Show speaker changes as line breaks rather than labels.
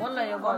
我累，我。